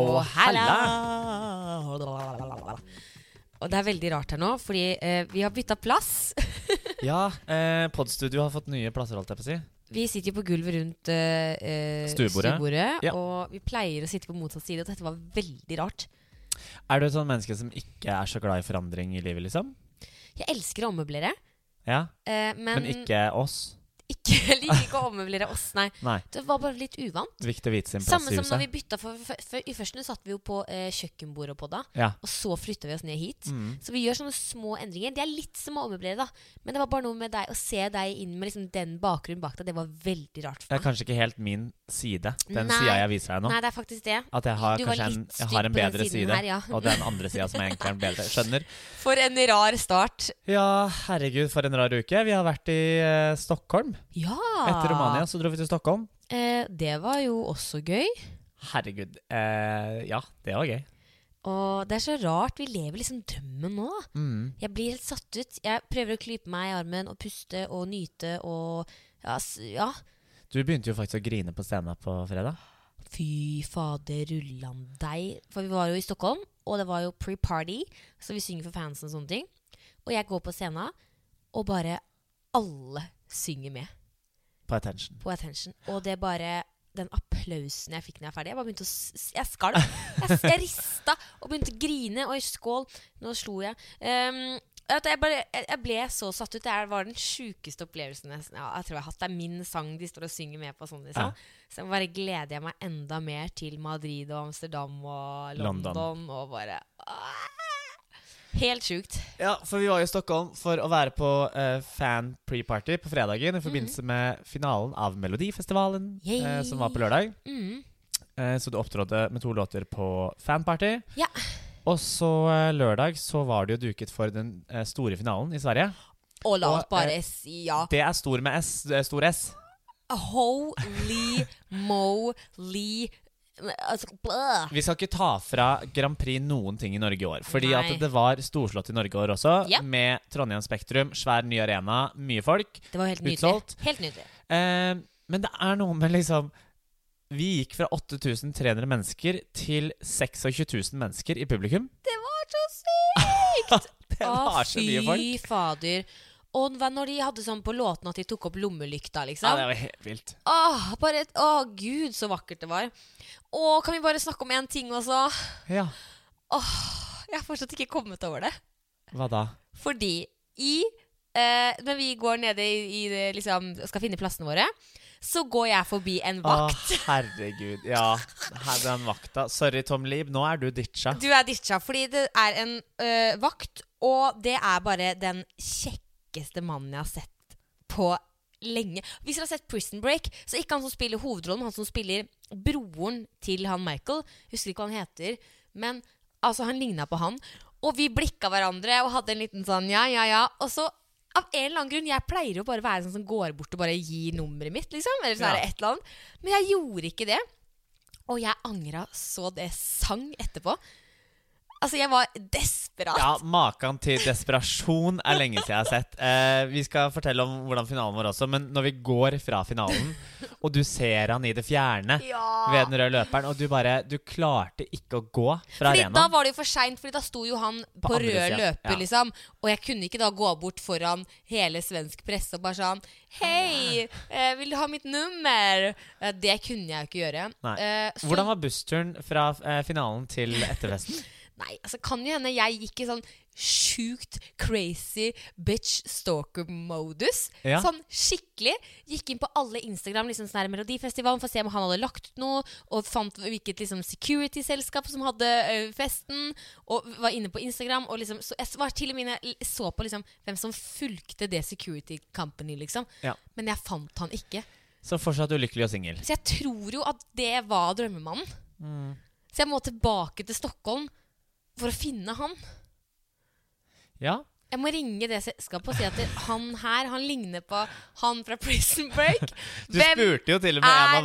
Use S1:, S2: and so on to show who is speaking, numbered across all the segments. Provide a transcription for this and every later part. S1: og
S2: halla.
S1: Og det er veldig rart her nå, fordi eh, vi har bytta plass.
S3: Ja, eh, Podstudio har fått nye plasser, holdt jeg på å si.
S1: Vi sitter jo på gulvet rundt eh, eh,
S3: Stuebordet. Ja.
S1: og vi pleier å sitte på motsatt side, og dette var veldig rart.
S3: Er du et sånn menneske som ikke er så glad i forandring i livet, liksom?
S1: Jeg elsker å ommøblere,
S3: Ja,
S1: eh, men,
S3: Men ikke oss?
S1: ikke, jeg liker ikke å ommøblere oss, nei.
S3: Nei.
S1: Det var bare litt uvant.
S3: Viktig å vite sin plass
S1: Samme
S3: i
S1: som når
S3: huset.
S1: vi bytta, for, for, for i førsten satt vi jo på eh, kjøkkenbordet og podda,
S3: Ja.
S1: og så flytta vi oss ned hit.
S3: Mm.
S1: Så vi gjør sånne små endringer. Det er litt som å ommøblere, da. Men det var bare noe med deg, å se deg inn med liksom den bakgrunnen bak deg, det var veldig rart
S3: Det
S1: for
S3: er
S1: meg.
S3: kanskje ikke helt min side, den
S1: Nei.
S3: sida jeg viser deg nå.
S1: Nei, det er faktisk det.
S3: At jeg har
S1: Du var
S3: kanskje en,
S1: litt
S3: jeg har
S1: stygg på
S3: en
S1: den
S3: bedre
S1: siden
S3: side,
S1: her, ja.
S3: og den andre sida som egentlig er en bedre. Skjønner.
S1: For en rar start.
S3: Ja, herregud, for en rar uke. Vi har vært i eh, Stockholm.
S1: Ja!
S3: Etter Romania så dro vi til Stockholm.
S1: Eh, det var jo også gøy.
S3: Herregud. Eh, ja, det var gøy.
S1: Og det er så rart. Vi lever liksom drømmen nå, da.
S3: Mm.
S1: Jeg blir helt satt ut. Jeg prøver å klype meg i armen og puste og nyte og Ja. s- ja.
S3: Du begynte jo faktisk å grine på scenen på fredag.
S1: Fy fader, rullan deg. For vi var jo i Stockholm, og det var jo pre-party, så vi synger for fansen og sånne ting. Og jeg går på scenen, og bare alle synger med
S3: På Attention.
S1: på attention. Og det bare den applausen jeg fikk når jeg er ferdig Jeg bare begynte å s- Jeg skalv. Jeg, jeg rista og begynte å grine. Oi, skål. Nå slo jeg. Um, vet du, jeg, bare, jeg, jeg ble så satt ut. Det er- var den sjukeste opplevelsen jeg, s- ja, jeg tror jeg har hatt. Det er min sang de står og synger med på. sånn de sa.
S3: Ja.
S1: Så bare gleder jeg meg enda mer til Madrid og Amsterdam og London.
S3: London.
S1: Og bare ah. Helt sjukt.
S3: Ja, for vi var i Stockholm for å være på eh, fan pre-party på fredagen i forbindelse med finalen av Melodifestivalen,
S1: Mhm. Yay.
S3: eh, som var på lørdag.
S1: Mm.
S3: Eh, så du opptrådte med to låter på fanparty.
S1: Ja.
S3: Og så eh, lørdag så var det jo duket for den eh, store finalen i Sverige.
S1: Og la
S3: Og,
S1: oss bare
S3: eh,
S1: si ja.
S3: Det er stor med S. eh, Stor S.
S1: Holy moly altså, bløh.
S3: Vi skal ikke ta fra Grand Prix noen ting i Norge i år. Fordi
S1: Nei.
S3: at det var storslått i Norge i år også,
S1: Ja.
S3: med Trondheim Spektrum, svær ny arena, mye folk.
S1: Det var helt nydelig.
S3: Utsolgt.
S1: Helt nydelig.
S3: Eh, men det er noe med liksom Vi gikk fra 8300 mennesker til 26 000 mennesker i publikum.
S1: Det var så sykt!
S3: Det var så mye folk.
S1: Fy fader. Og hva når de hadde sånn på låten at de tok opp lommelykta,
S3: Ja,
S1: liksom.
S3: det var helt vilt.
S1: Åh, bare et, åh, gud, så vakkert det var. Å, kan vi bare snakke om én ting også?
S3: Ja,
S1: Jeg har fortsatt ikke kommet over det.
S3: Hva da?
S1: Fordi i eh, Når vi går nede i, i det, liksom, skal finne plassene våre, så går jeg forbi en vakt.
S3: Å, herregud. Ja, her den vakta. Sorry, Tom Lieb, nå er du ditcha.
S1: Du er ditcha fordi det er en ø, vakt, og det er bare den kjekkeste mannen jeg har sett på lenge. Hvis dere har sett Prison Break, så ikke han som spiller hovedrollen, men han som spiller broren til han Michael. Husker ikke hva han heter, men altså, han ligna på han. Og vi blikka hverandre og hadde en liten sånn ja, ja, ja. Og så av en eller annen grunn, Jeg pleier jo bare å være sånn som går bort og bare gir nummeret mitt, liksom. Eller så er det et eller annet. Men jeg gjorde ikke det. Og jeg angra så det sang etterpå. Altså, jeg var desperat.
S3: Ja, Maken til desperasjon er lenge siden jeg har sett. Eh, vi skal fortelle om hvordan finalen var også, men når vi går fra finalen, og du ser han i det fjerne ved den røde løperen, og du bare Du klarte ikke å gå fra
S1: Fordi da
S3: arenaen.
S1: var det jo for seint, Fordi da sto jo han på,
S3: andre
S1: rød
S3: siden,
S1: løper,
S3: ja.
S1: liksom. Og jeg kunne ikke da gå bort foran hele svensk presse og bare sånn Hei, eh, vil du ha mitt nummer? Eh, det kunne jeg jo ikke gjøre.
S3: Nei.
S1: Eh, så,
S3: Hvordan var bussturen fra eh, finalen til etterfesten?
S1: Nei, altså kan jo hende jeg gikk i sånn sjukt crazy bitch stalker-modus.
S3: Ja.
S1: Sånn skikkelig. Gikk inn på alle Instagram, liksom sånn her Melodifestivalen, for å se om han hadde lagt ut noe. Og fant hvilket liksom security-selskap som hadde ø, festen. Og var inne på Instagram. Og liksom, så jeg var til og med inne jeg så på liksom hvem som fulgte det security company, liksom.
S3: Ja.
S1: Men jeg fant han ikke.
S3: Så fortsatt ulykkelig og singel.
S1: Så jeg tror jo at det var drømmemannen.
S3: Mm.
S1: Så jeg må tilbake til Stockholm for å finne han.
S3: Ja.
S1: Jeg må ringe det selskapet og si at det- han her han ligner på han fra Prison Break.
S3: Du
S1: Hvem-
S3: spurte jo til og med en
S1: er
S3: av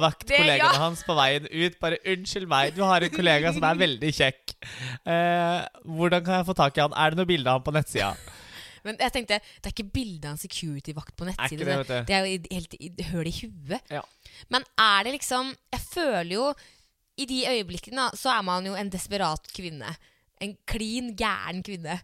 S1: det?
S3: vaktkollegaene
S1: Ja.
S3: hans på veien ut. Bare 'unnskyld meg, du har en kollega som er veldig kjekk'. Eh, hvordan kan jeg få tak i han? Er det noe bilde av han på nettsida?
S1: Men jeg tenkte, det er ikke bilde av en security-vakt på
S3: Er
S1: nettsiden.
S3: ikke det, vet du.
S1: det er jo i- helt i- høl i huet.
S3: Ja.
S1: Men er det liksom Jeg føler jo i de øyeblikkene da, så er man jo en desperat kvinne. En klin gæren kvinne.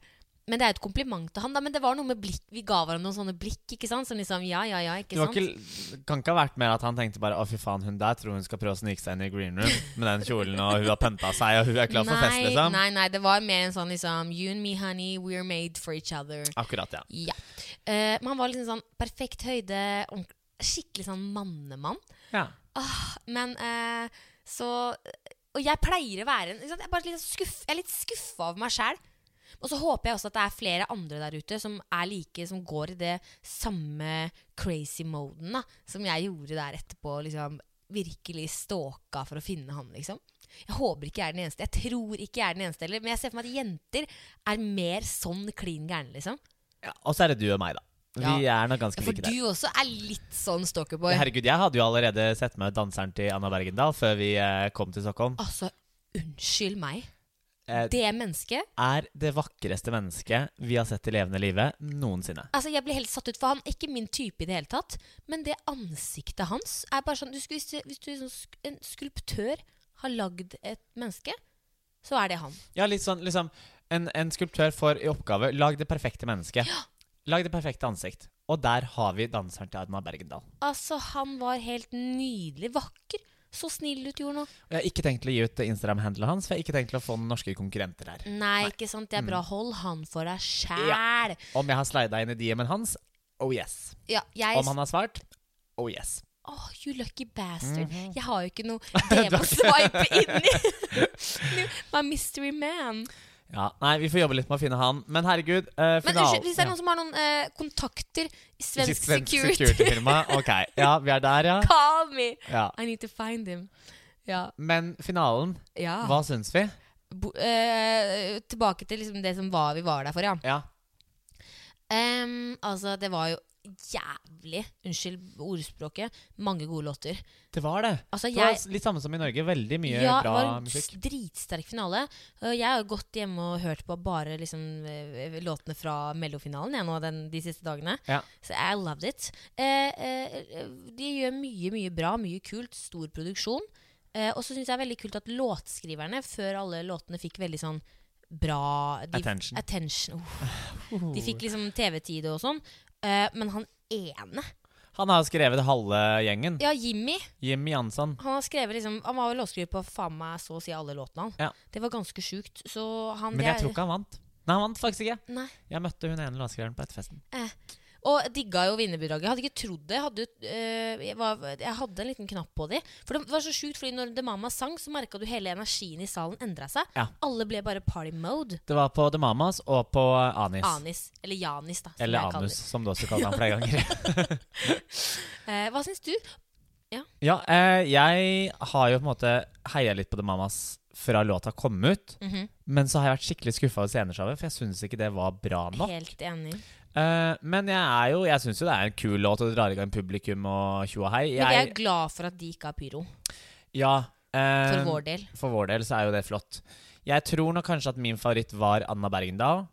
S1: Men det er jo et kompliment til han, da. Men det var noe med blikk Vi ga hverandre noen sånne blikk, ikke sant? Som liksom ja, ja, ja, ikke
S3: Det var
S1: sant?
S3: ikke, kan ikke ha vært mer at han tenkte bare 'Å, fy faen, hun der tror hun skal prøve å snike seg inn i green room med den kjolen, og hun har pynta seg, og hun er klar for
S1: nei,
S3: fest', liksom.
S1: nei, nei. Det var mer en sånn liksom You and me, honey. We're made for each other.
S3: Akkurat, ja.
S1: Ja. Eh, men han var liksom sånn perfekt høyde, ordentlig- skikkelig sånn mannemann.
S3: ja.
S1: Men eh, så Og jeg pleier å være en ikke sant, jeg, er bare litt sånn skuff, jeg er litt skuffa over meg sjæl. Og så håper jeg også at det er flere andre der ute som er like, som går i det samme crazy moden da, som jeg gjorde der etterpå. liksom Virkelig stalka for å finne han, liksom. Jeg håper ikke jeg er den eneste. Jeg tror ikke jeg er den eneste heller, men jeg ser for meg at jenter er mer sånn klin gærne, liksom.
S3: ja. Og så er det du og meg, da. Vi er nok ganske
S1: For
S3: like der.
S1: du også er litt sånn stalkerboy.
S3: Herregud, jeg hadde jo allerede sett med danseren til Anna Bergendal før vi eh, kom til Stockholm.
S1: Altså, unnskyld meg.
S3: Eh,
S1: Det mennesket
S3: er det vakreste mennesket vi har sett i levende live noensinne.
S1: Altså, Jeg blir helt satt ut, for han er ikke min type i det hele tatt. Men det ansiktet hans er bare sånn du skulle, Hvis hvis du som sk- en skulptør har lagd et menneske, så er det han.
S3: Ja, litt sånn liksom En, en skulptør får i oppgave lag det perfekte mennesket. Lag det perfekte ansikt. Og der har vi danseren til Anna Bergendal.
S1: Altså, Han var helt nydelig vakker. Så snill ut gjorde nå.
S3: Og jeg har ikke tenkt til å gi ut Instagram-handelen hans, for jeg har ikke tenkt til å få noen norske konkurrenter her.
S1: Nei, ikke sant. Det er bra. Hold han for deg sjæl.
S3: Mm. Ja. Om jeg har slida inn i DM-en hans? Oh yes.
S1: Ja, jeg
S3: Om han har svart? Oh yes.
S1: Åh, you lucky bastard. Jeg har jo ikke noe demoswipe inni. My mystery man.
S3: Ja, Nei, vi får jobbe litt med å finne han. Men herregud, eh,
S1: Men
S3: finalen
S1: unnskyld, hvis det er noen som har noen eh, kontakter i
S3: ja.
S1: svensk
S3: Svensk
S1: security,
S3: security-firma. Ok. Ja, vi er der, ja.
S1: call me!
S3: ja.
S1: I need to find him. Ja.
S3: Men finalen,
S1: ja.
S3: hva syns vi?
S1: Bo, eh, tilbake til liksom det som var vi var der for, ja.
S3: Ja.
S1: Em, altså, det var jo jævlig, unnskyld ordspråket, mange gode låter.
S3: Det var det.
S1: Altså,
S3: Det var
S1: jeg
S3: litt samme som i Norge. Veldig mye
S1: ja, det
S3: bra
S1: var en
S3: musikk.
S1: dritsterk finale. Og jeg har jo gått hjemme og hørt på bare liksom, eh, låtene fra Mellofinalen jeg, nå, den, de siste dagene.
S3: Ja.
S1: Så I loved it. Eh, eh, de gjør mye, mye bra, mye kult. Stor produksjon. Eh, og så syns jeg det er veldig kult at låtskriverne før alle låtene fikk veldig sånn bra de,
S3: Attention.
S1: attention. Uff. De fikk liksom TV-tid og sånn. Eh, men han ene
S3: Han har skrevet halve gjengen.
S1: Ja, Jimmy.
S3: Jimmy Jansson.
S1: Han har skrevet liksom Han var vel låtskriver på faen meg så å si alle låtene han.
S3: Ja.
S1: Det var ganske sjukt. Så han
S3: Men
S1: det er-
S3: jeg tror ikke han vant. Nei, han vant faktisk ikke.
S1: Nei.
S3: Jeg møtte hun ene låtskriveren på Ettefesten.
S1: Og digga jo vinnerbidraget. Hadde ikke trodd det. Hadde, jo, øh, jeg, var, jeg hadde en liten knapp på de. For det var så sjukt, fordi når The Mama sang, så merka du hele energien i salen endra seg.
S3: Ja.
S1: Alle ble bare party mode.
S3: Det var på The Mamas og på Anis.
S1: Anis. Eller Janis, da. som
S3: Eller
S1: jeg kaller
S3: Anus, som du også kalte han flere ganger.
S1: det. Eh, hva syns du?
S3: ja, eh, jeg har jo på en måte heia litt på The Mamas fra låta kom ut.
S1: Mhm.
S3: Men så har jeg vært skikkelig skuffa over sceneshowet, for jeg syns ikke det var bra nok.
S1: Helt enig.
S3: Eh, men jeg er jo Jeg syns jo det er en kul låt, og det drar i gang publikum og tjo og hei.
S1: Men jeg er
S3: Jeg,
S1: glad for at de ikke har pyro,
S3: ja,
S1: for
S3: eh,
S1: vår del.
S3: For vår del så er jo det flott. Jeg tror nok kanskje at min favoritt var Anna Bergendal.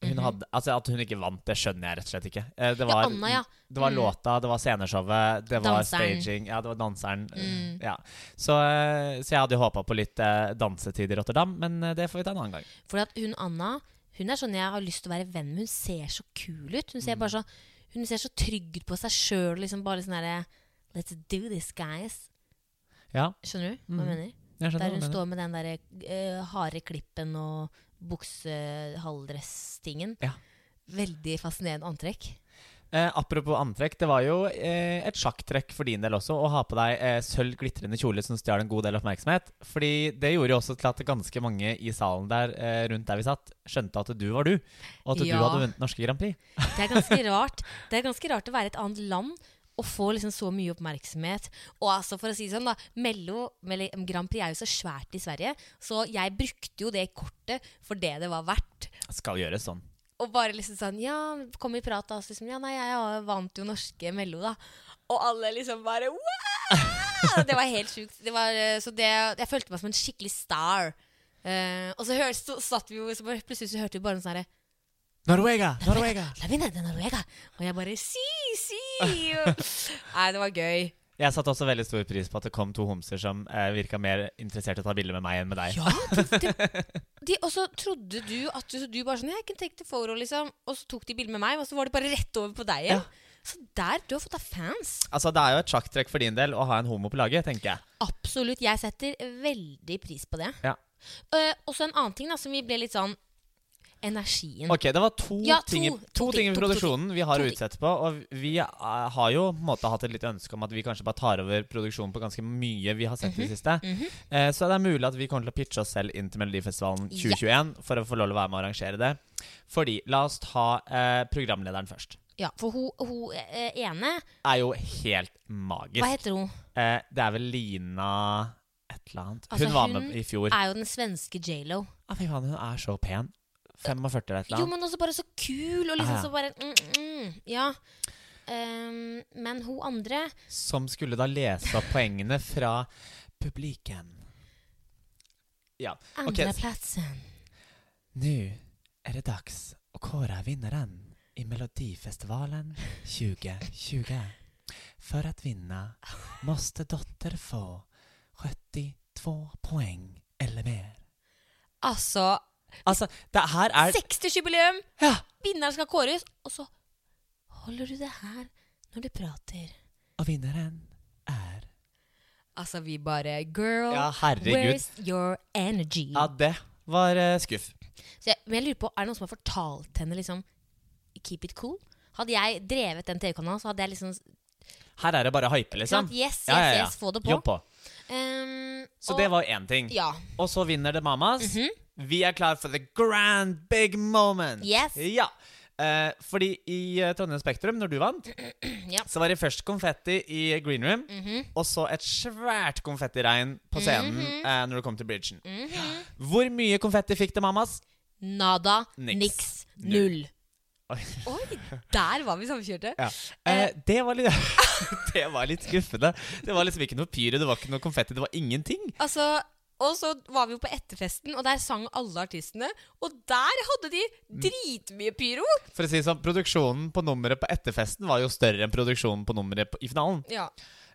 S3: Hun
S1: Mhm.
S3: hadde, altså At hun ikke vant, det skjønner jeg rett og slett ikke. Eh,
S1: Ja,
S3: Det var,
S1: Anna, ja.
S3: det var
S1: Mm.
S3: låta, det var sceneshowet, det var
S1: Danseren.
S3: staging Ja, det var danseren.
S1: Mm.
S3: Ja. Så, eh, så jeg hadde jo håpa på litt eh, dansetid i Rotterdam, men eh, det får vi ta en annen gang.
S1: For at hun Anna Hun er sånn jeg har lyst til å være venn med. Hun ser så kul ut.
S3: Mm.
S1: Hun ser, bare så, hun ser så trygg ut på seg sjøl. Liksom bare sånn herre Let's do this, guys.
S3: Ja,
S1: Skjønner du hva jeg mener?
S3: jeg skjønner
S1: Der
S3: hva
S1: hun
S3: du mener.
S1: står med den derre eh, harde klippen og buksehalvdress-tingen.
S3: Ja.
S1: Veldig fascinerende antrekk.
S3: Eh, apropos antrekk, det var jo eh, et sjakktrekk for din del også å ha på deg eh, sølv glitrende kjole som stjal en god del oppmerksomhet. Fordi det gjorde jo også til at ganske mange i salen der eh, rundt der vi satt, skjønte at du var du. Og at
S1: Ja.
S3: du hadde vunnet norske Grand Prix.
S1: Det er ganske rart Det er ganske rart å være et annet land og få liksom så mye oppmerksomhet. Og altså for å si det sånn da Mello, eller Grand Prix er jo så svært i Sverige, så jeg brukte jo det kortet for det det var verdt.
S3: Skal gjøres sånn.
S1: Og bare liksom sånn Ja, kom i prat, da. Så liksom, ja, nei, jeg vant jo norske Mello, da. Og alle liksom bare wow! Det var helt sjukt. Det var, eh, så det, jeg følte meg som en skikkelig star. Eh, og så, hørte, så satt vi jo så bare, Plutselig så hørte vi bare en sånn herre
S3: Norvega! Norvega!
S1: La vinne de Noruega! Og jeg bare Si, si! Nei, det var gøy.
S3: Jeg satte også veldig stor pris på at det kom to homser som eh, virka mer interessert i å ta bilde med meg enn med deg.
S1: Ja, det, det, de, Og så trodde du at du, du bare sånn Jeg can take the photo, liksom. Og så tok de bilde med meg, og så var det bare rett over på deg igjen. Så der, du har fått deg fans.
S3: Altså, Det er jo et sjakktrekk for din del å ha en homo på laget, tenker jeg.
S1: Absolutt. Jeg setter veldig pris på det.
S3: Ja.
S1: Eh, og så en annen ting da, som vi ble litt sånn Energien.
S3: Ok, Det var to,
S1: Ja,
S3: ting, i-
S1: to-
S3: to,
S1: to ting,
S3: ting i
S1: to- to
S3: produksjonen vi har
S1: to
S3: å
S1: ting.
S3: utsette på. Og vi eh, har jo på en måte hatt et lite ønske om at vi kanskje bare tar over produksjonen på ganske mye vi har sett i det siste.
S1: Mhm.
S3: Eh, så det er mulig at vi kommer til å pitche oss selv inn til Melodifestivalen
S1: Ja.
S3: 2021 for å få lov til å være med og arrangere det. Fordi, la oss ta eh, programlederen først.
S1: Ja, For hun, hun eh, ene
S3: Er jo helt magisk.
S1: Hva heter hun?
S3: Eh, det er vel Lina et eller annet.
S1: Altså,
S3: hun
S1: hun
S3: var med i fjor.
S1: Er jo den svenske J.Lo.
S3: Ah, fy faen, hun er så pen. 45 eller et eller
S1: Jo,
S3: annet. Ah,
S1: men også bare så kul, og liksom
S3: Ja, ja.
S1: så bare mm, mm, Ja. Ehm, men hun andre
S3: Som skulle da lese opp poengene fra publiken. Ja, ok.
S1: Andreplassen.
S3: Nå er det dags å kåre vinneren i Melodifestivalen 2020. For å vinne måste dotter få 72 poeng eller mer.
S1: Altså
S3: Altså, det her er
S1: 60-årsjubileum!
S3: Ja!
S1: Vinneren skal kåres, og så holder du det her når du prater.
S3: Og vinneren er
S1: Altså, vi bare Girl,
S3: Ja, herregud.
S1: where's your energy?
S3: Ja, det var eh, skuff.
S1: Så jeg, men jeg lurer på, Er det noen som har fortalt henne liksom Keep it cool? Hadde jeg drevet den TV-kanalen, så hadde jeg liksom
S3: Her er det bare å hype,
S1: sant,
S3: liksom.
S1: Yes, yes,
S3: Ja, ja, ja.
S1: yes, få det på.
S3: Jobb på.
S1: Ehm,
S3: Så
S1: og-
S3: det var én ting.
S1: Ja. Mhm.
S3: Og så vinner det Mamas. Vi er klar for the grand big moment.
S1: Yes.
S3: Ja. Eh, fordi i eh, Trondheim Spektrum, når du vant,
S1: Ja. Mhm.
S3: så var det først konfetti i green room, og så et svært konfettiregn på scenen eh, når du kom til bridgen.
S1: Mhm.
S3: Hvor mye konfetti fikk det Mamas?
S1: Nada,
S3: Niks.
S1: niks, null.
S3: Null. Oi.
S1: Oi, der var vi samkjørte.
S3: Ja. Eh, det, var litt, det var litt skuffende. Det var liksom ikke noe pyro, det var ikke noe konfetti, det var ingenting.
S1: Altså, og så var vi jo på etterfesten, og der sang alle artistene. Og der hadde de
S3: Mm.
S1: dritmye pyro!
S3: For å si det sånn, Produksjonen på nummeret på etterfesten var jo større enn produksjonen på nummeret på, i finalen.
S1: Ja.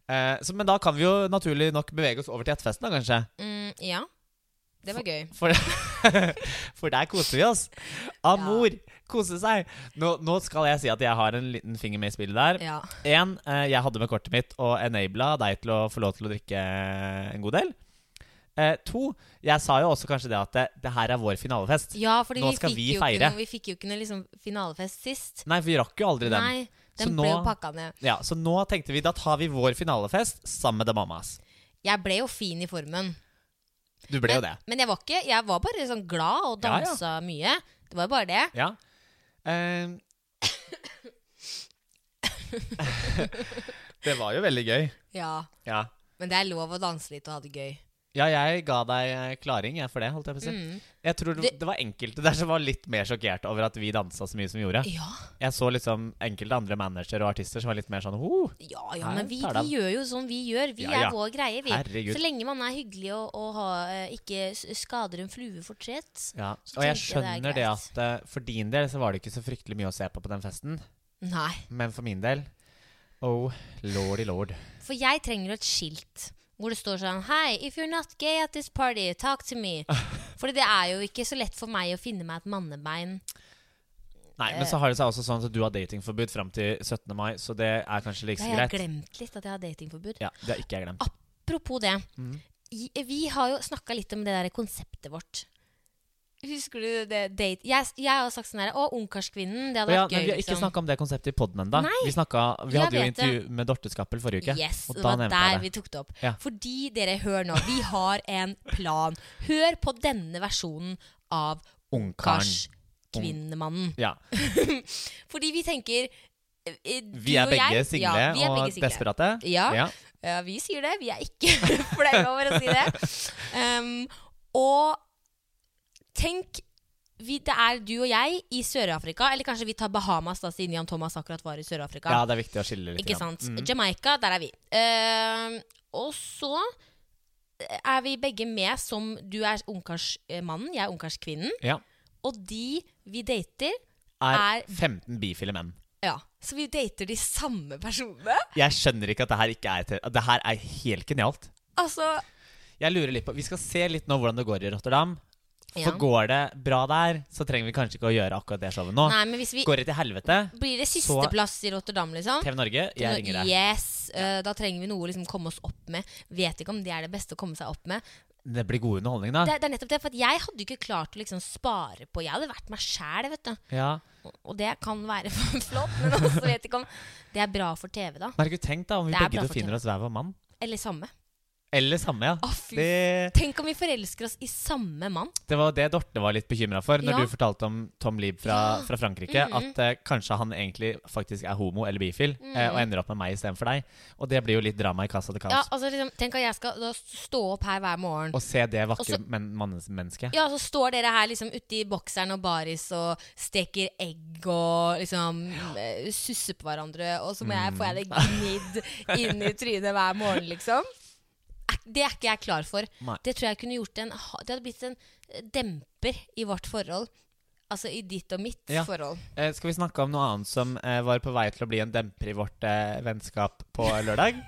S3: Eh, så, men da kan vi jo naturlig nok bevege oss over til ettfesten, da, kanskje.
S1: Mm, ja. Det var gøy.
S3: For, for der koser vi oss. Amor, kose seg. Nå, nå skal jeg si at jeg har en liten finger med i spillet der.
S1: Ja.
S3: En, eh, jeg hadde med kortet mitt og enabla deg til å få lov til å drikke en god del. Eh, to, jeg sa jo også kanskje det at det, det her er vår finalefest.
S1: ja, fordi
S3: Nå
S1: vi
S3: skal
S1: fikk,
S3: vi
S1: jo
S3: feire.
S1: ikke noe, vi fikk jo ikke noe liksom, finalefest sist.
S3: Nei, for vi rakk jo aldri den.
S1: Nei, den
S3: Så
S1: ble
S3: nå-
S1: jo pakka ned.
S3: Ja, så nå tenkte vi da tar vi vår finalefest sammen med The Mamas.
S1: Jeg ble jo fin i formen.
S3: Du ble jo det.
S1: Men jeg var ikke Jeg var bare sånn glad og
S3: Ja, ja.
S1: dansa mye. Det var jo bare det.
S3: Ja. Eh, det var jo veldig gøy.
S1: Ja.
S3: Ja.
S1: Men det er lov å danse litt og ha det gøy.
S3: Ja, jeg ga deg eh, klaring jeg, for det. holdt Jeg på å si.
S1: Mm.
S3: Jeg tror det,
S1: Det-
S3: det var enkelte der som var litt mer sjokkert over at vi dansa så mye som vi gjorde.
S1: Ja.
S3: Jeg så liksom enkelte andre managere og artister som var litt mer sånn oh,
S1: Ja, ja,
S3: Her
S1: men vi,
S3: tar det av.
S1: vi gjør jo sånn vi gjør. Vi
S3: Ja, ja.
S1: er vår greie, vi.
S3: Herregud.
S1: Så lenge man er hyggelig og, og har, eh, ikke s- skader en flue fortret.
S3: ja.
S1: Så
S3: Og jeg
S1: tenkte jeg
S3: skjønner
S1: det er
S3: det at eh, for din del så var det ikke så fryktelig mye å se på på den festen,
S1: Nei.
S3: men for min del Oh lordy lord.
S1: For jeg trenger jo et skilt hvor det står sånn Hei, if you're not gay at this party, talk to me. Fordi det er jo ikke så lett for meg å finne meg et mannebein.
S3: Nei,
S1: Eh.
S3: men så har det seg også sånn at du har datingforbud fram til 17. mai, så det er kanskje like
S1: Ja,
S3: så
S1: jeg har
S3: greit.
S1: glemt litt at jeg har datingforbud.
S3: Ja, Mm. det har ikke jeg glemt.
S1: Apropos det. i- Vi har jo snakka litt om det der konseptet vårt. Husker du det? Date? Jeg, jeg har sagt sånn her Å, Ungkarskvinnen. Det hadde
S3: Å ja,
S1: vært
S3: men
S1: gøy.
S3: vi har ikke
S1: liksom.
S3: snakka om det konseptet i poden ennå.
S1: Nei.
S3: Vi, snakket- vi
S1: Jeg
S3: hadde jo
S1: vet det.
S3: intervju med Dorte Skappel forrige uke.
S1: Yes,
S3: og
S1: det
S3: da
S1: var
S3: nevnte
S1: der
S3: jeg det.
S1: vi tok det opp.
S3: Ja.
S1: Fordi dere, hør nå, vi har en plan. Hør på denne versjonen av
S3: Ungkaren.
S1: Kars Kvinnemannen.
S3: Ja.
S1: Fordi vi tenker eh, eh, du
S3: Vi er
S1: og jeg-
S3: begge single
S1: ja, vi er
S3: og
S1: begge single.
S3: desperate.
S1: Ja. Ja, vi sier det. Vi er ikke flaue over å si det. Um, og tenk vi, Det er du og jeg i Sør-Afrika, eller kanskje vi tar Bahamas da, siden Jan Thomas akkurat var i Sør-Afrika.
S3: ja, Mm. det er viktig å skille litt.
S1: Ikke
S3: grann.
S1: sant? Jamaica, der er vi. Ehm, og så eh, er vi begge med som Du er ungkarsmannen, jeg er ungkarskvinnen.
S3: Ja.
S1: Og de vi dater,
S3: Er
S1: Er-
S3: 15 bifile menn.
S1: ja, Så vi dater de samme personene?
S3: Jeg skjønner ikke at det her ikke er te- at Det her er helt genialt.
S1: Altså
S3: Jeg lurer litt på Vi skal se litt nå hvordan det går i Rotterdam.
S1: ja.
S3: For går det bra der, så trenger vi kanskje ikke å gjøre akkurat det showet nå.
S1: Nei, men hvis vi
S3: Går det til helvete,
S1: blir det
S3: Ah. så-
S1: sisteplass i Rotterdam, liksom
S3: TV Norge, jeg ringer deg.
S1: Yes, eh, Da trenger vi noe å liksom komme oss opp med. Vet ikke om det er det beste å komme seg opp med.
S3: Det blir god underholdning, da.
S1: Det, det er nettopp det, for at Jeg hadde jo ikke klart å liksom spare på Jeg hadde vært meg sjæl, vet du.
S3: Ja.
S1: Og- Og det kan være flott, men også vet ikke om det er bra for TV, da.
S3: Men herregud, tenk da om vi
S1: Det er
S3: begge
S1: bra
S3: to
S1: for
S3: finner oss hver vår mann.
S1: Eller samme.
S3: Eller samme, ja.
S1: Å, fy.
S3: Det,
S1: Tenk om vi forelsker oss i samme mann.
S3: det var det Dorte var litt bekymra for når
S1: Ja.
S3: du fortalte om Tom Lieb fra,
S1: Ja.
S3: fra Frankrike.
S1: Mhm.
S3: At eh, kanskje han egentlig faktisk er homo eller bifil eh, og ender opp med meg istedenfor deg. Og det blir jo litt drama i kassa til
S1: Ja,
S3: kaos.
S1: altså liksom, Tenk at jeg skal da stå opp her hver morgen.
S3: Å se det vakre
S1: Også-
S3: men, mannes- mennesket.
S1: Ja, så står dere her liksom ute i bokseren og baris og steker egg og liksom eh, susser på hverandre, og så må jeg, får jeg det gnidd inn i trynet hver morgen, liksom. Er- Det er ikke jeg klar for.
S3: Nei.
S1: Det tror jeg kunne gjort en ha- Det hadde blitt en eh, demper i vårt forhold. Altså i ditt og mitt
S3: Ja.
S1: forhold.
S3: Eh, skal vi snakke om noe annet som eh, var på vei til å bli en demper i vårt eh, vennskap på lørdag?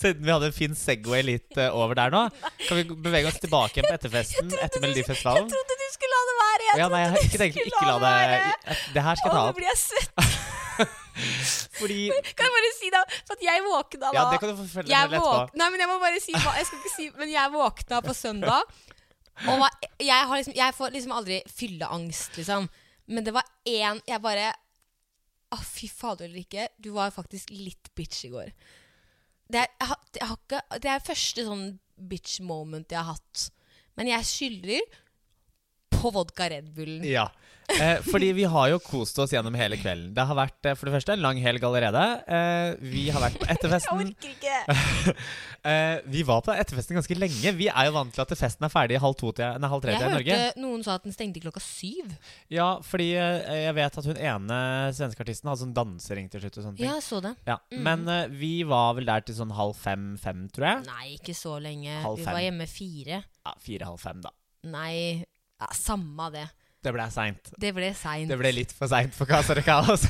S3: Siden vi hadde en fin Segway litt eh, over der nå, kan vi bevege oss tilbake igjen på etterfesten Mm, etter
S1: Jeg
S3: Melodifestivalen?
S1: trodde du skulle la det være! Jeg
S3: Ja, nei, jeg har ikke tenkt ikke la det Det her skal jeg ta
S1: nå
S3: opp.
S1: blir jeg svett.
S3: Fordi
S1: Kan jeg bare si det? For at jeg våkna da
S3: Ja, det kan du få fortelle
S1: jeg
S3: meg etterpå.
S1: våk- Nei, men jeg må bare si hva Jeg skal ikke si Men jeg våkna på søndag Og var, jeg, har liksom, jeg får liksom aldri fylleangst liksom Men det var en Jeg bare Å fy fader Ulrikke Du var faktisk litt bitch i går Det er, jeg, har- jeg har ikke, det er første sånn bitch moment jeg har hatt Men jeg skylder På vodka Red Bullen
S3: Ja. Eh, fordi vi har jo kost oss gjennom hele kvelden. Det har vært eh, for det første en lang helg allerede. Eh, vi har vært på etterfesten.
S1: orker ikke
S3: Eh, vi var på etterfesten ganske lenge. Vi er jo vant til at festen er ferdig halv, to til, nei, halv tre
S1: Jeg
S3: til i
S1: hørte
S3: Norge.
S1: noen sa at den stengte klokka syv
S3: Ja, fordi eh, jeg vet at hun ene svenske artisten hadde sånn dansering til slutt og sånne ting.
S1: Ja, Mm. jeg så det
S3: Ja. Men eh, vi var vel der til sånn halv fem-fem, tror jeg.
S1: Nei, ikke så lenge.
S3: Halv
S1: vi
S3: fem.
S1: var hjemme fire.
S3: Ja, Fire-halv fem, da.
S1: Nei, ja, samme det.
S3: Det ble seint.
S1: Det ble seint.
S3: Det ble litt for seint for Casa de Caos.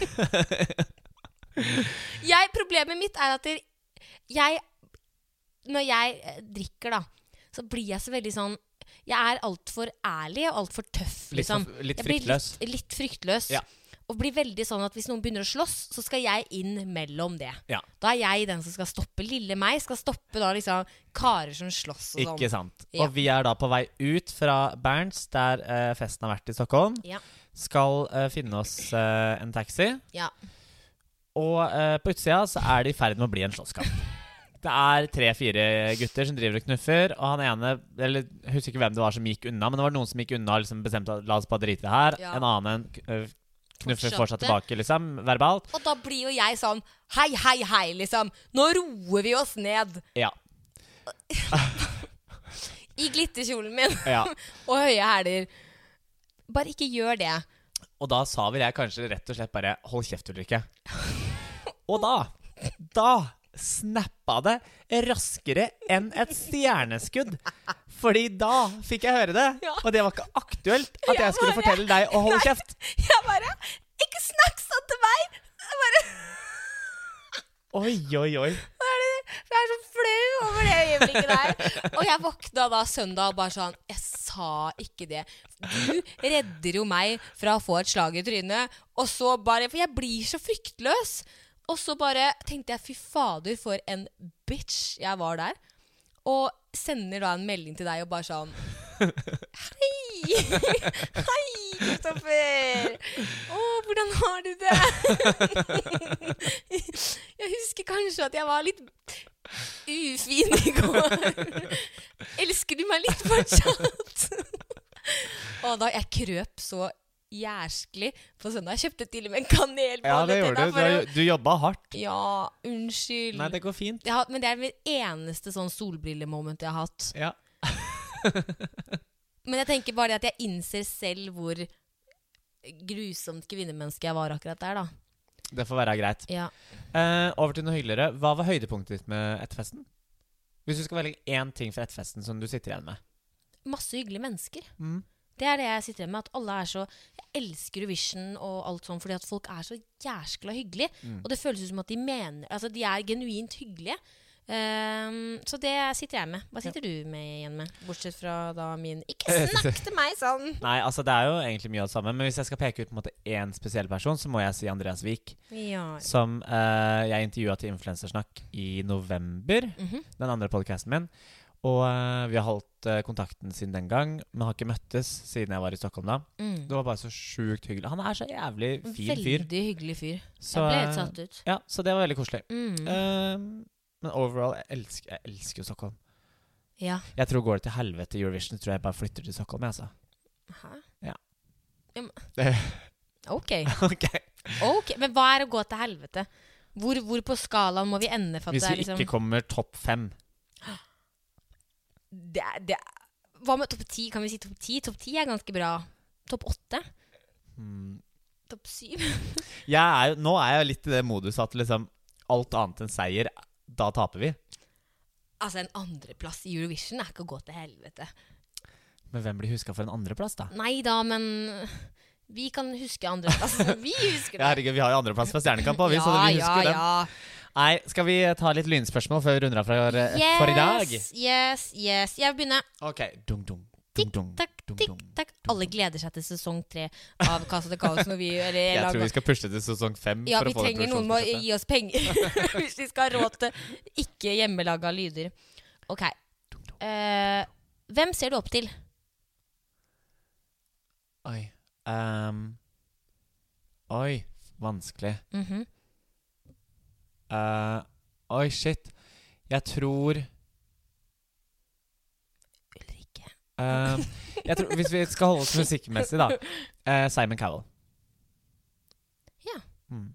S1: Jeg- Problemet mitt er at der- jeg Når jeg eh, drikker, da, så blir jeg så veldig sånn Jeg er altfor ærlig og altfor tøff,
S3: Litt,
S1: liksom.
S3: for- litt
S1: Jeg blir
S3: fryktløs.
S1: Litt, litt fryktløs.
S3: Ja.
S1: Og blir veldig sånn at hvis noen begynner å slåss, så skal jeg inn mellom det.
S3: Ja.
S1: Da er jeg den som skal stoppe. Lille meg skal stoppe da liksom karer som slåss og sånn.
S3: Ikke sant.
S1: Ja.
S3: Og vi er da på vei ut fra Berns, der eh, festen har vært i Stockholm.
S1: Ja.
S3: Skal eh, finne oss eh, en taxi.
S1: sånn. Ja.
S3: Og eh, på utsida så er det i ferd med å bli en slåsskamp. Det er tre-fire gutter som driver og knuffer, og han ene eller jeg husker ikke hvem det var som gikk unna, men det var noen som gikk unna og liksom bestemte at la oss bare drite i det her.
S1: Ja.
S3: En annen eh, knuffer
S1: Fortsatte.
S3: fortsatt tilbake, liksom, verbalt.
S1: Og da blir jo jeg sånn Hei, hei, hei, liksom. Nå roer vi oss ned
S3: Ja.
S1: i glitterkjolen min
S3: ja.
S1: og høye hæler. Bare ikke gjør det.
S3: Og da sa vel jeg kanskje rett og slett bare 'hold kjeft, Ulrikke'. Og da Da snappa det raskere enn et stjerneskudd. Fordi da fikk jeg høre det,
S1: Ja.
S3: og det var ikke aktuelt at jeg skulle
S1: bare-
S3: fortelle deg å holde
S1: Nei.
S3: kjeft.
S1: Jeg bare Ikke snakk sånn til meg! Jeg bare,
S3: Oi, oi, oi.
S1: Hva er det? Jeg er så flau over det øyeblikket der. Og jeg våkna da søndag og bare sånn Jeg sa ikke det. Du redder jo meg fra å få et slag i trynet, og så bare For jeg blir så fryktløs. Og så bare tenkte jeg fy fader, for en bitch jeg var der. Og sender da en melding til deg og bare sånn Hei! Hei, Kristoffer! Å, hvordan har du det? Jeg husker kanskje at jeg var litt ufin i går. Elsker du meg litt fortsatt? Og da jeg krøp så jærskelig på søndag. Jeg kjøpte til og med en
S3: Ja,
S1: kanelbolle
S3: det
S1: til
S3: gjorde
S1: deg.
S3: du. Du,
S1: for å-
S3: har- du jobba hardt.
S1: Ja, unnskyld.
S3: Nei, det går fint.
S1: Jeg har- men det er det eneste sånn solbrillemoment jeg har hatt.
S3: Ja.
S1: Men jeg tenker bare det at jeg innser selv hvor grusomt kvinnemenneske jeg var akkurat der, da.
S3: Det får være greit.
S1: Ja.
S3: Eh, over til noe hyggeligere. Hva var høydepunktet ditt med etterfesten? Hvis du skal velge én ting fra etterfesten som du sitter igjen med.
S1: Masse hyggelige mennesker.
S3: Mm.
S1: Det er det jeg sitter igjen med. At alle er så Jeg elsker Eurovision og alt sånn fordi at folk er så jæskla hyggelige. Og det føles ut som at de mener Altså, de er genuint hyggelige. Ehm, så det sitter jeg med. Hva sitter du med igjen med? Bortsett fra da min Ikke snakk til meg sånn!
S3: Nei, altså det er jo egentlig mye av det samme, men hvis jeg skal peke ut på en måte én spesiell person, så må jeg si Andreas Wiik.
S1: Ja.
S3: Som eh, jeg intervjua til Influensersnakk i november,
S1: Mhm.
S3: den andre podkasten min. Og eh, vi har holdt eh, kontakten siden den gang, men har ikke møttes siden jeg var i Stockholm da.
S1: Mm.
S3: Det var bare så sjukt hyggelig. Han er så jævlig fin fyr.
S1: Veldig hyggelig fyr.
S3: Så,
S1: jeg ble
S3: eh,
S1: helt satt ut.
S3: Ja, så det var veldig koselig.
S1: Mm.
S3: Eh, men overall, jeg elsker, jeg elsker jo Stockholm.
S1: ja.
S3: Jeg tror går det til helvete i Eurovision, tror jeg bare flytter til Stockholm, jeg, altså.
S1: Hæ?
S3: Ja.
S1: Ja, men-
S3: Det-
S1: Ok.
S3: Ok.
S1: ok. Men hva er å gå til helvete? Hvor, hvor på skalaen må vi ende? For at
S3: Hvis
S1: det er
S3: vi
S1: liksom,
S3: ikke kommer topp fem
S1: liksom- det, er- det, er- Hva med topp ti? Kan vi si topp ti? Topp ti er ganske bra. Topp åtte?
S3: hmm.
S1: Topp syv?
S3: jeg er, jo- Nå er jeg litt i det modus at liksom alt annet enn seier, da taper vi.
S1: Altså, en andreplass i Eurovision er ikke å gå til helvete.
S3: Men hvem blir huska for en andreplass, da?
S1: Nei da, men vi kan huske andreplassen. Vi husker
S3: Ja,
S1: det.
S3: herregud, vi har jo andreplass fra Stjernekamp òg, vi, så vi husker den.
S1: ja.
S3: Nei, skal vi ta litt lynspørsmål før vi runder av fra, eh, for i dag?
S1: Yes, yes, yes. Jeg vil begynne.
S3: Ok. Dung, dung, dung, dung,
S1: Takk,
S3: dung,
S1: tikk,
S3: dung.
S1: takk. Alle gleder seg til sesong tre av Casa de Caos. Når vi, eller,
S3: Jeg
S1: lager-
S3: tror vi skal pushe til sesong fem.
S1: ja,
S3: for
S1: vi
S3: å få det
S1: trenger noen med å
S3: produksjonsbudsjettet.
S1: gi oss penger hvis vi skal ha råd til ikke hjemmelaga lyder. Ok. Eh, hvem ser du opp til?
S3: Oi. Ehm, oi, vanskelig.
S1: Mhm.
S3: Eh, oi, shit. Jeg tror
S1: Ulrikke.
S3: ehm, jeg tror, Hvis vi skal holde oss musikkmessig, da. eh, Simon Cowell.
S1: Ja.
S3: Mm.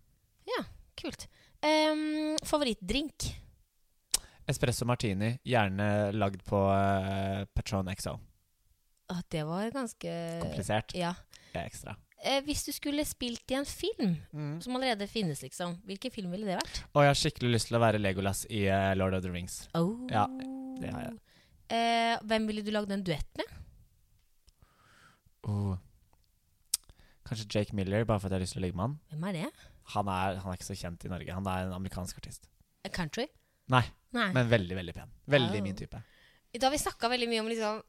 S1: Kult. Um, Favorittdrink?
S3: Espresso martini, gjerne lagd på eh, Patron XO.
S1: Å, det var ganske
S3: Komplisert.
S1: Eh, Ja.
S3: Det er ekstra.
S1: Eh, hvis du skulle spilt i en film
S3: Mm.
S1: som allerede finnes, liksom, hvilken film ville det vært?
S3: Og jeg har skikkelig lyst til å være Legolas i eh, Lord of the Rings.
S1: Oh.
S3: Ja, det har jeg.
S1: Eh, hvem ville du lagd en duett med?
S3: Oh. Kanskje Jake Miller, bare for at jeg har lyst til å ligge med han.
S1: Hvem er det?
S3: Han er, han er ikke så kjent i Norge. Han er en amerikansk artist.
S1: A Country?
S3: Nei.
S1: Nei.
S3: Men veldig, veldig pen. Veldig
S1: Oh.
S3: min type.
S1: da har vi snakka veldig mye om liksom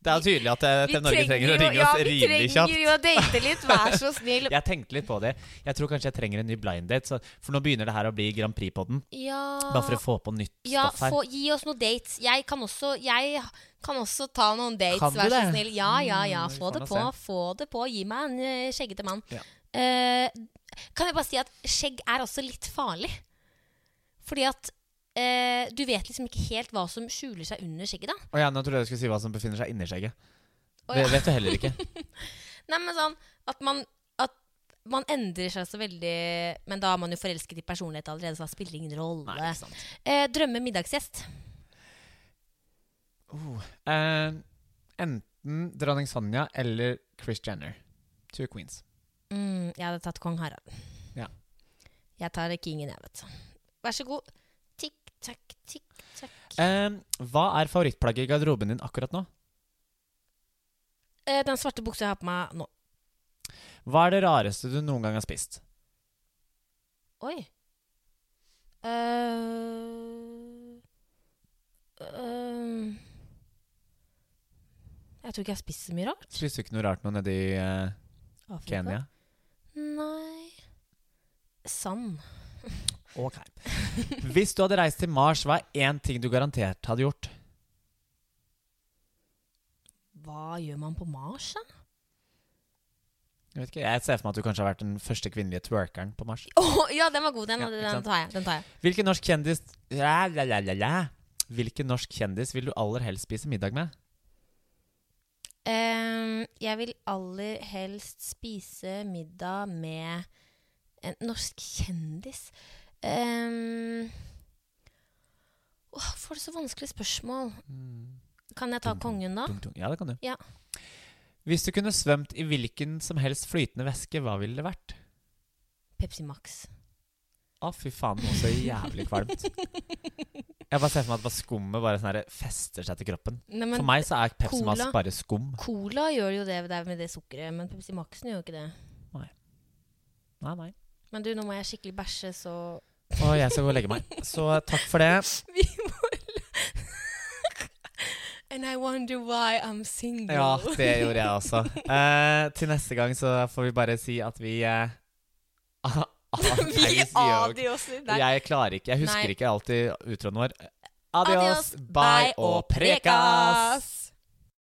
S3: Det er jo tydelig at eh,
S1: vi
S3: TV Norge trenger å
S1: jo-
S3: ringe
S1: ja,
S3: oss rimelig
S1: Vi
S3: kjapt.
S1: trenger jo å date litt, vær så snill.
S3: Jeg tenkte litt på det. Jeg tror kanskje jeg trenger en ny blind date, så, for nå begynner det her å bli Grand Prix-podden. Bare for å
S1: Ja,
S3: få på nytt
S1: Ah. ja
S3: stoff her.
S1: få, gi oss noen dates. Jeg kan også, jeg kan også ta noen dates,
S3: Kan du
S1: vær så
S3: det?
S1: snill. Ja, ja, ja.
S3: Mm, vi
S1: Få
S3: får
S1: det
S3: nå
S1: på, få det på. Gi meg en eh, skjeggete mann.
S3: Ja.
S1: Eh, kan jeg bare si at skjegg er også litt farlig. Fordi at eh, du vet liksom ikke helt hva som skjuler seg under skjegget, da.
S3: Å ja, nå trodde jeg du skulle si hva som befinner seg inni skjegget.
S1: Å
S3: Det
S1: ja.
S3: vet du heller ikke.
S1: Nei, men sånn at man, at man endrer seg så veldig Men da er man jo forelsket i personlighet allerede, så det spiller ingen rolle.
S3: Nei, ikke sant.
S1: Eh, drømme middagsgjest.
S3: Oh. Eh, enten dronning Sonja eller Chris Jenner. Two queens.
S1: Mm, jeg hadde tatt kong Harald.
S3: Ja.
S1: Jeg tar kingen, jeg, vet du. Vær så god. Tikk takk, tikk takk.
S3: Eh, hva er favorittplagget i garderoben din akkurat nå?
S1: Eh, den svarte buksa jeg har på meg nå
S3: Hva er det rareste du noen gang har spist?
S1: Oi. Eh, eh, jeg tror ikke jeg har spist så mye rart.
S3: Spiste du ikke noe rart nå nede i eh,
S1: Afrika.
S3: Kenya?
S1: Nei Sand.
S3: Ok. Hvis du hadde reist til Mars, hva er én ting du garantert hadde gjort?
S1: Hva gjør man på Mars, da?
S3: Jeg vet ikke, jeg ser for meg at du kanskje har vært den første kvinnelige twerkeren på Mars.
S1: Åh, ja, den var god. Den,
S3: Ja,
S1: den,
S3: ikke sant?
S1: tar jeg. Den tar jeg.
S3: Hvilken norsk kjendis la, la, la, la, la. Hvilken norsk kjendis vil du aller helst spise middag med?
S1: Ehm, jeg vil aller helst spise middag med en norsk kjendis. Ehm, åh, får du så vanskelige spørsmål?
S3: Mm.
S1: Kan jeg ta kongen, da?
S3: Tung, tung. Ja, det kan du.
S1: Ja.
S3: Hvis du kunne svømt i hvilken som helst flytende væske, hva ville det vært?
S1: Pepsi Max.
S3: Å, fy faen, noe så jævlig kvalmt. Jeg bare ser for meg at bare skummet bare sånn her fester seg til kroppen.
S1: Nei, men
S3: for meg så er Pepsi
S1: cola-
S3: Max bare skum.
S1: Cola gjør jo det det er med det sukkeret, men Pepsi Maxen gjør jo ikke det.
S3: Nei, nei.
S1: Men du, nå må jeg skikkelig bæsje, så
S3: Og jeg skal gå og legge meg. Så takk for det.
S1: Vi må And I wonder why I'm single.
S3: Ja, det gjorde jeg også. Eh, til neste gang så får vi bare si at vi eh,
S1: Vi
S3: Adios, yo.
S1: adioser deg.
S3: Jeg klarer ikke. Jeg husker
S1: Nei.
S3: ikke alltid utroen vår.
S1: Adios,
S3: Adios, bye og prekas!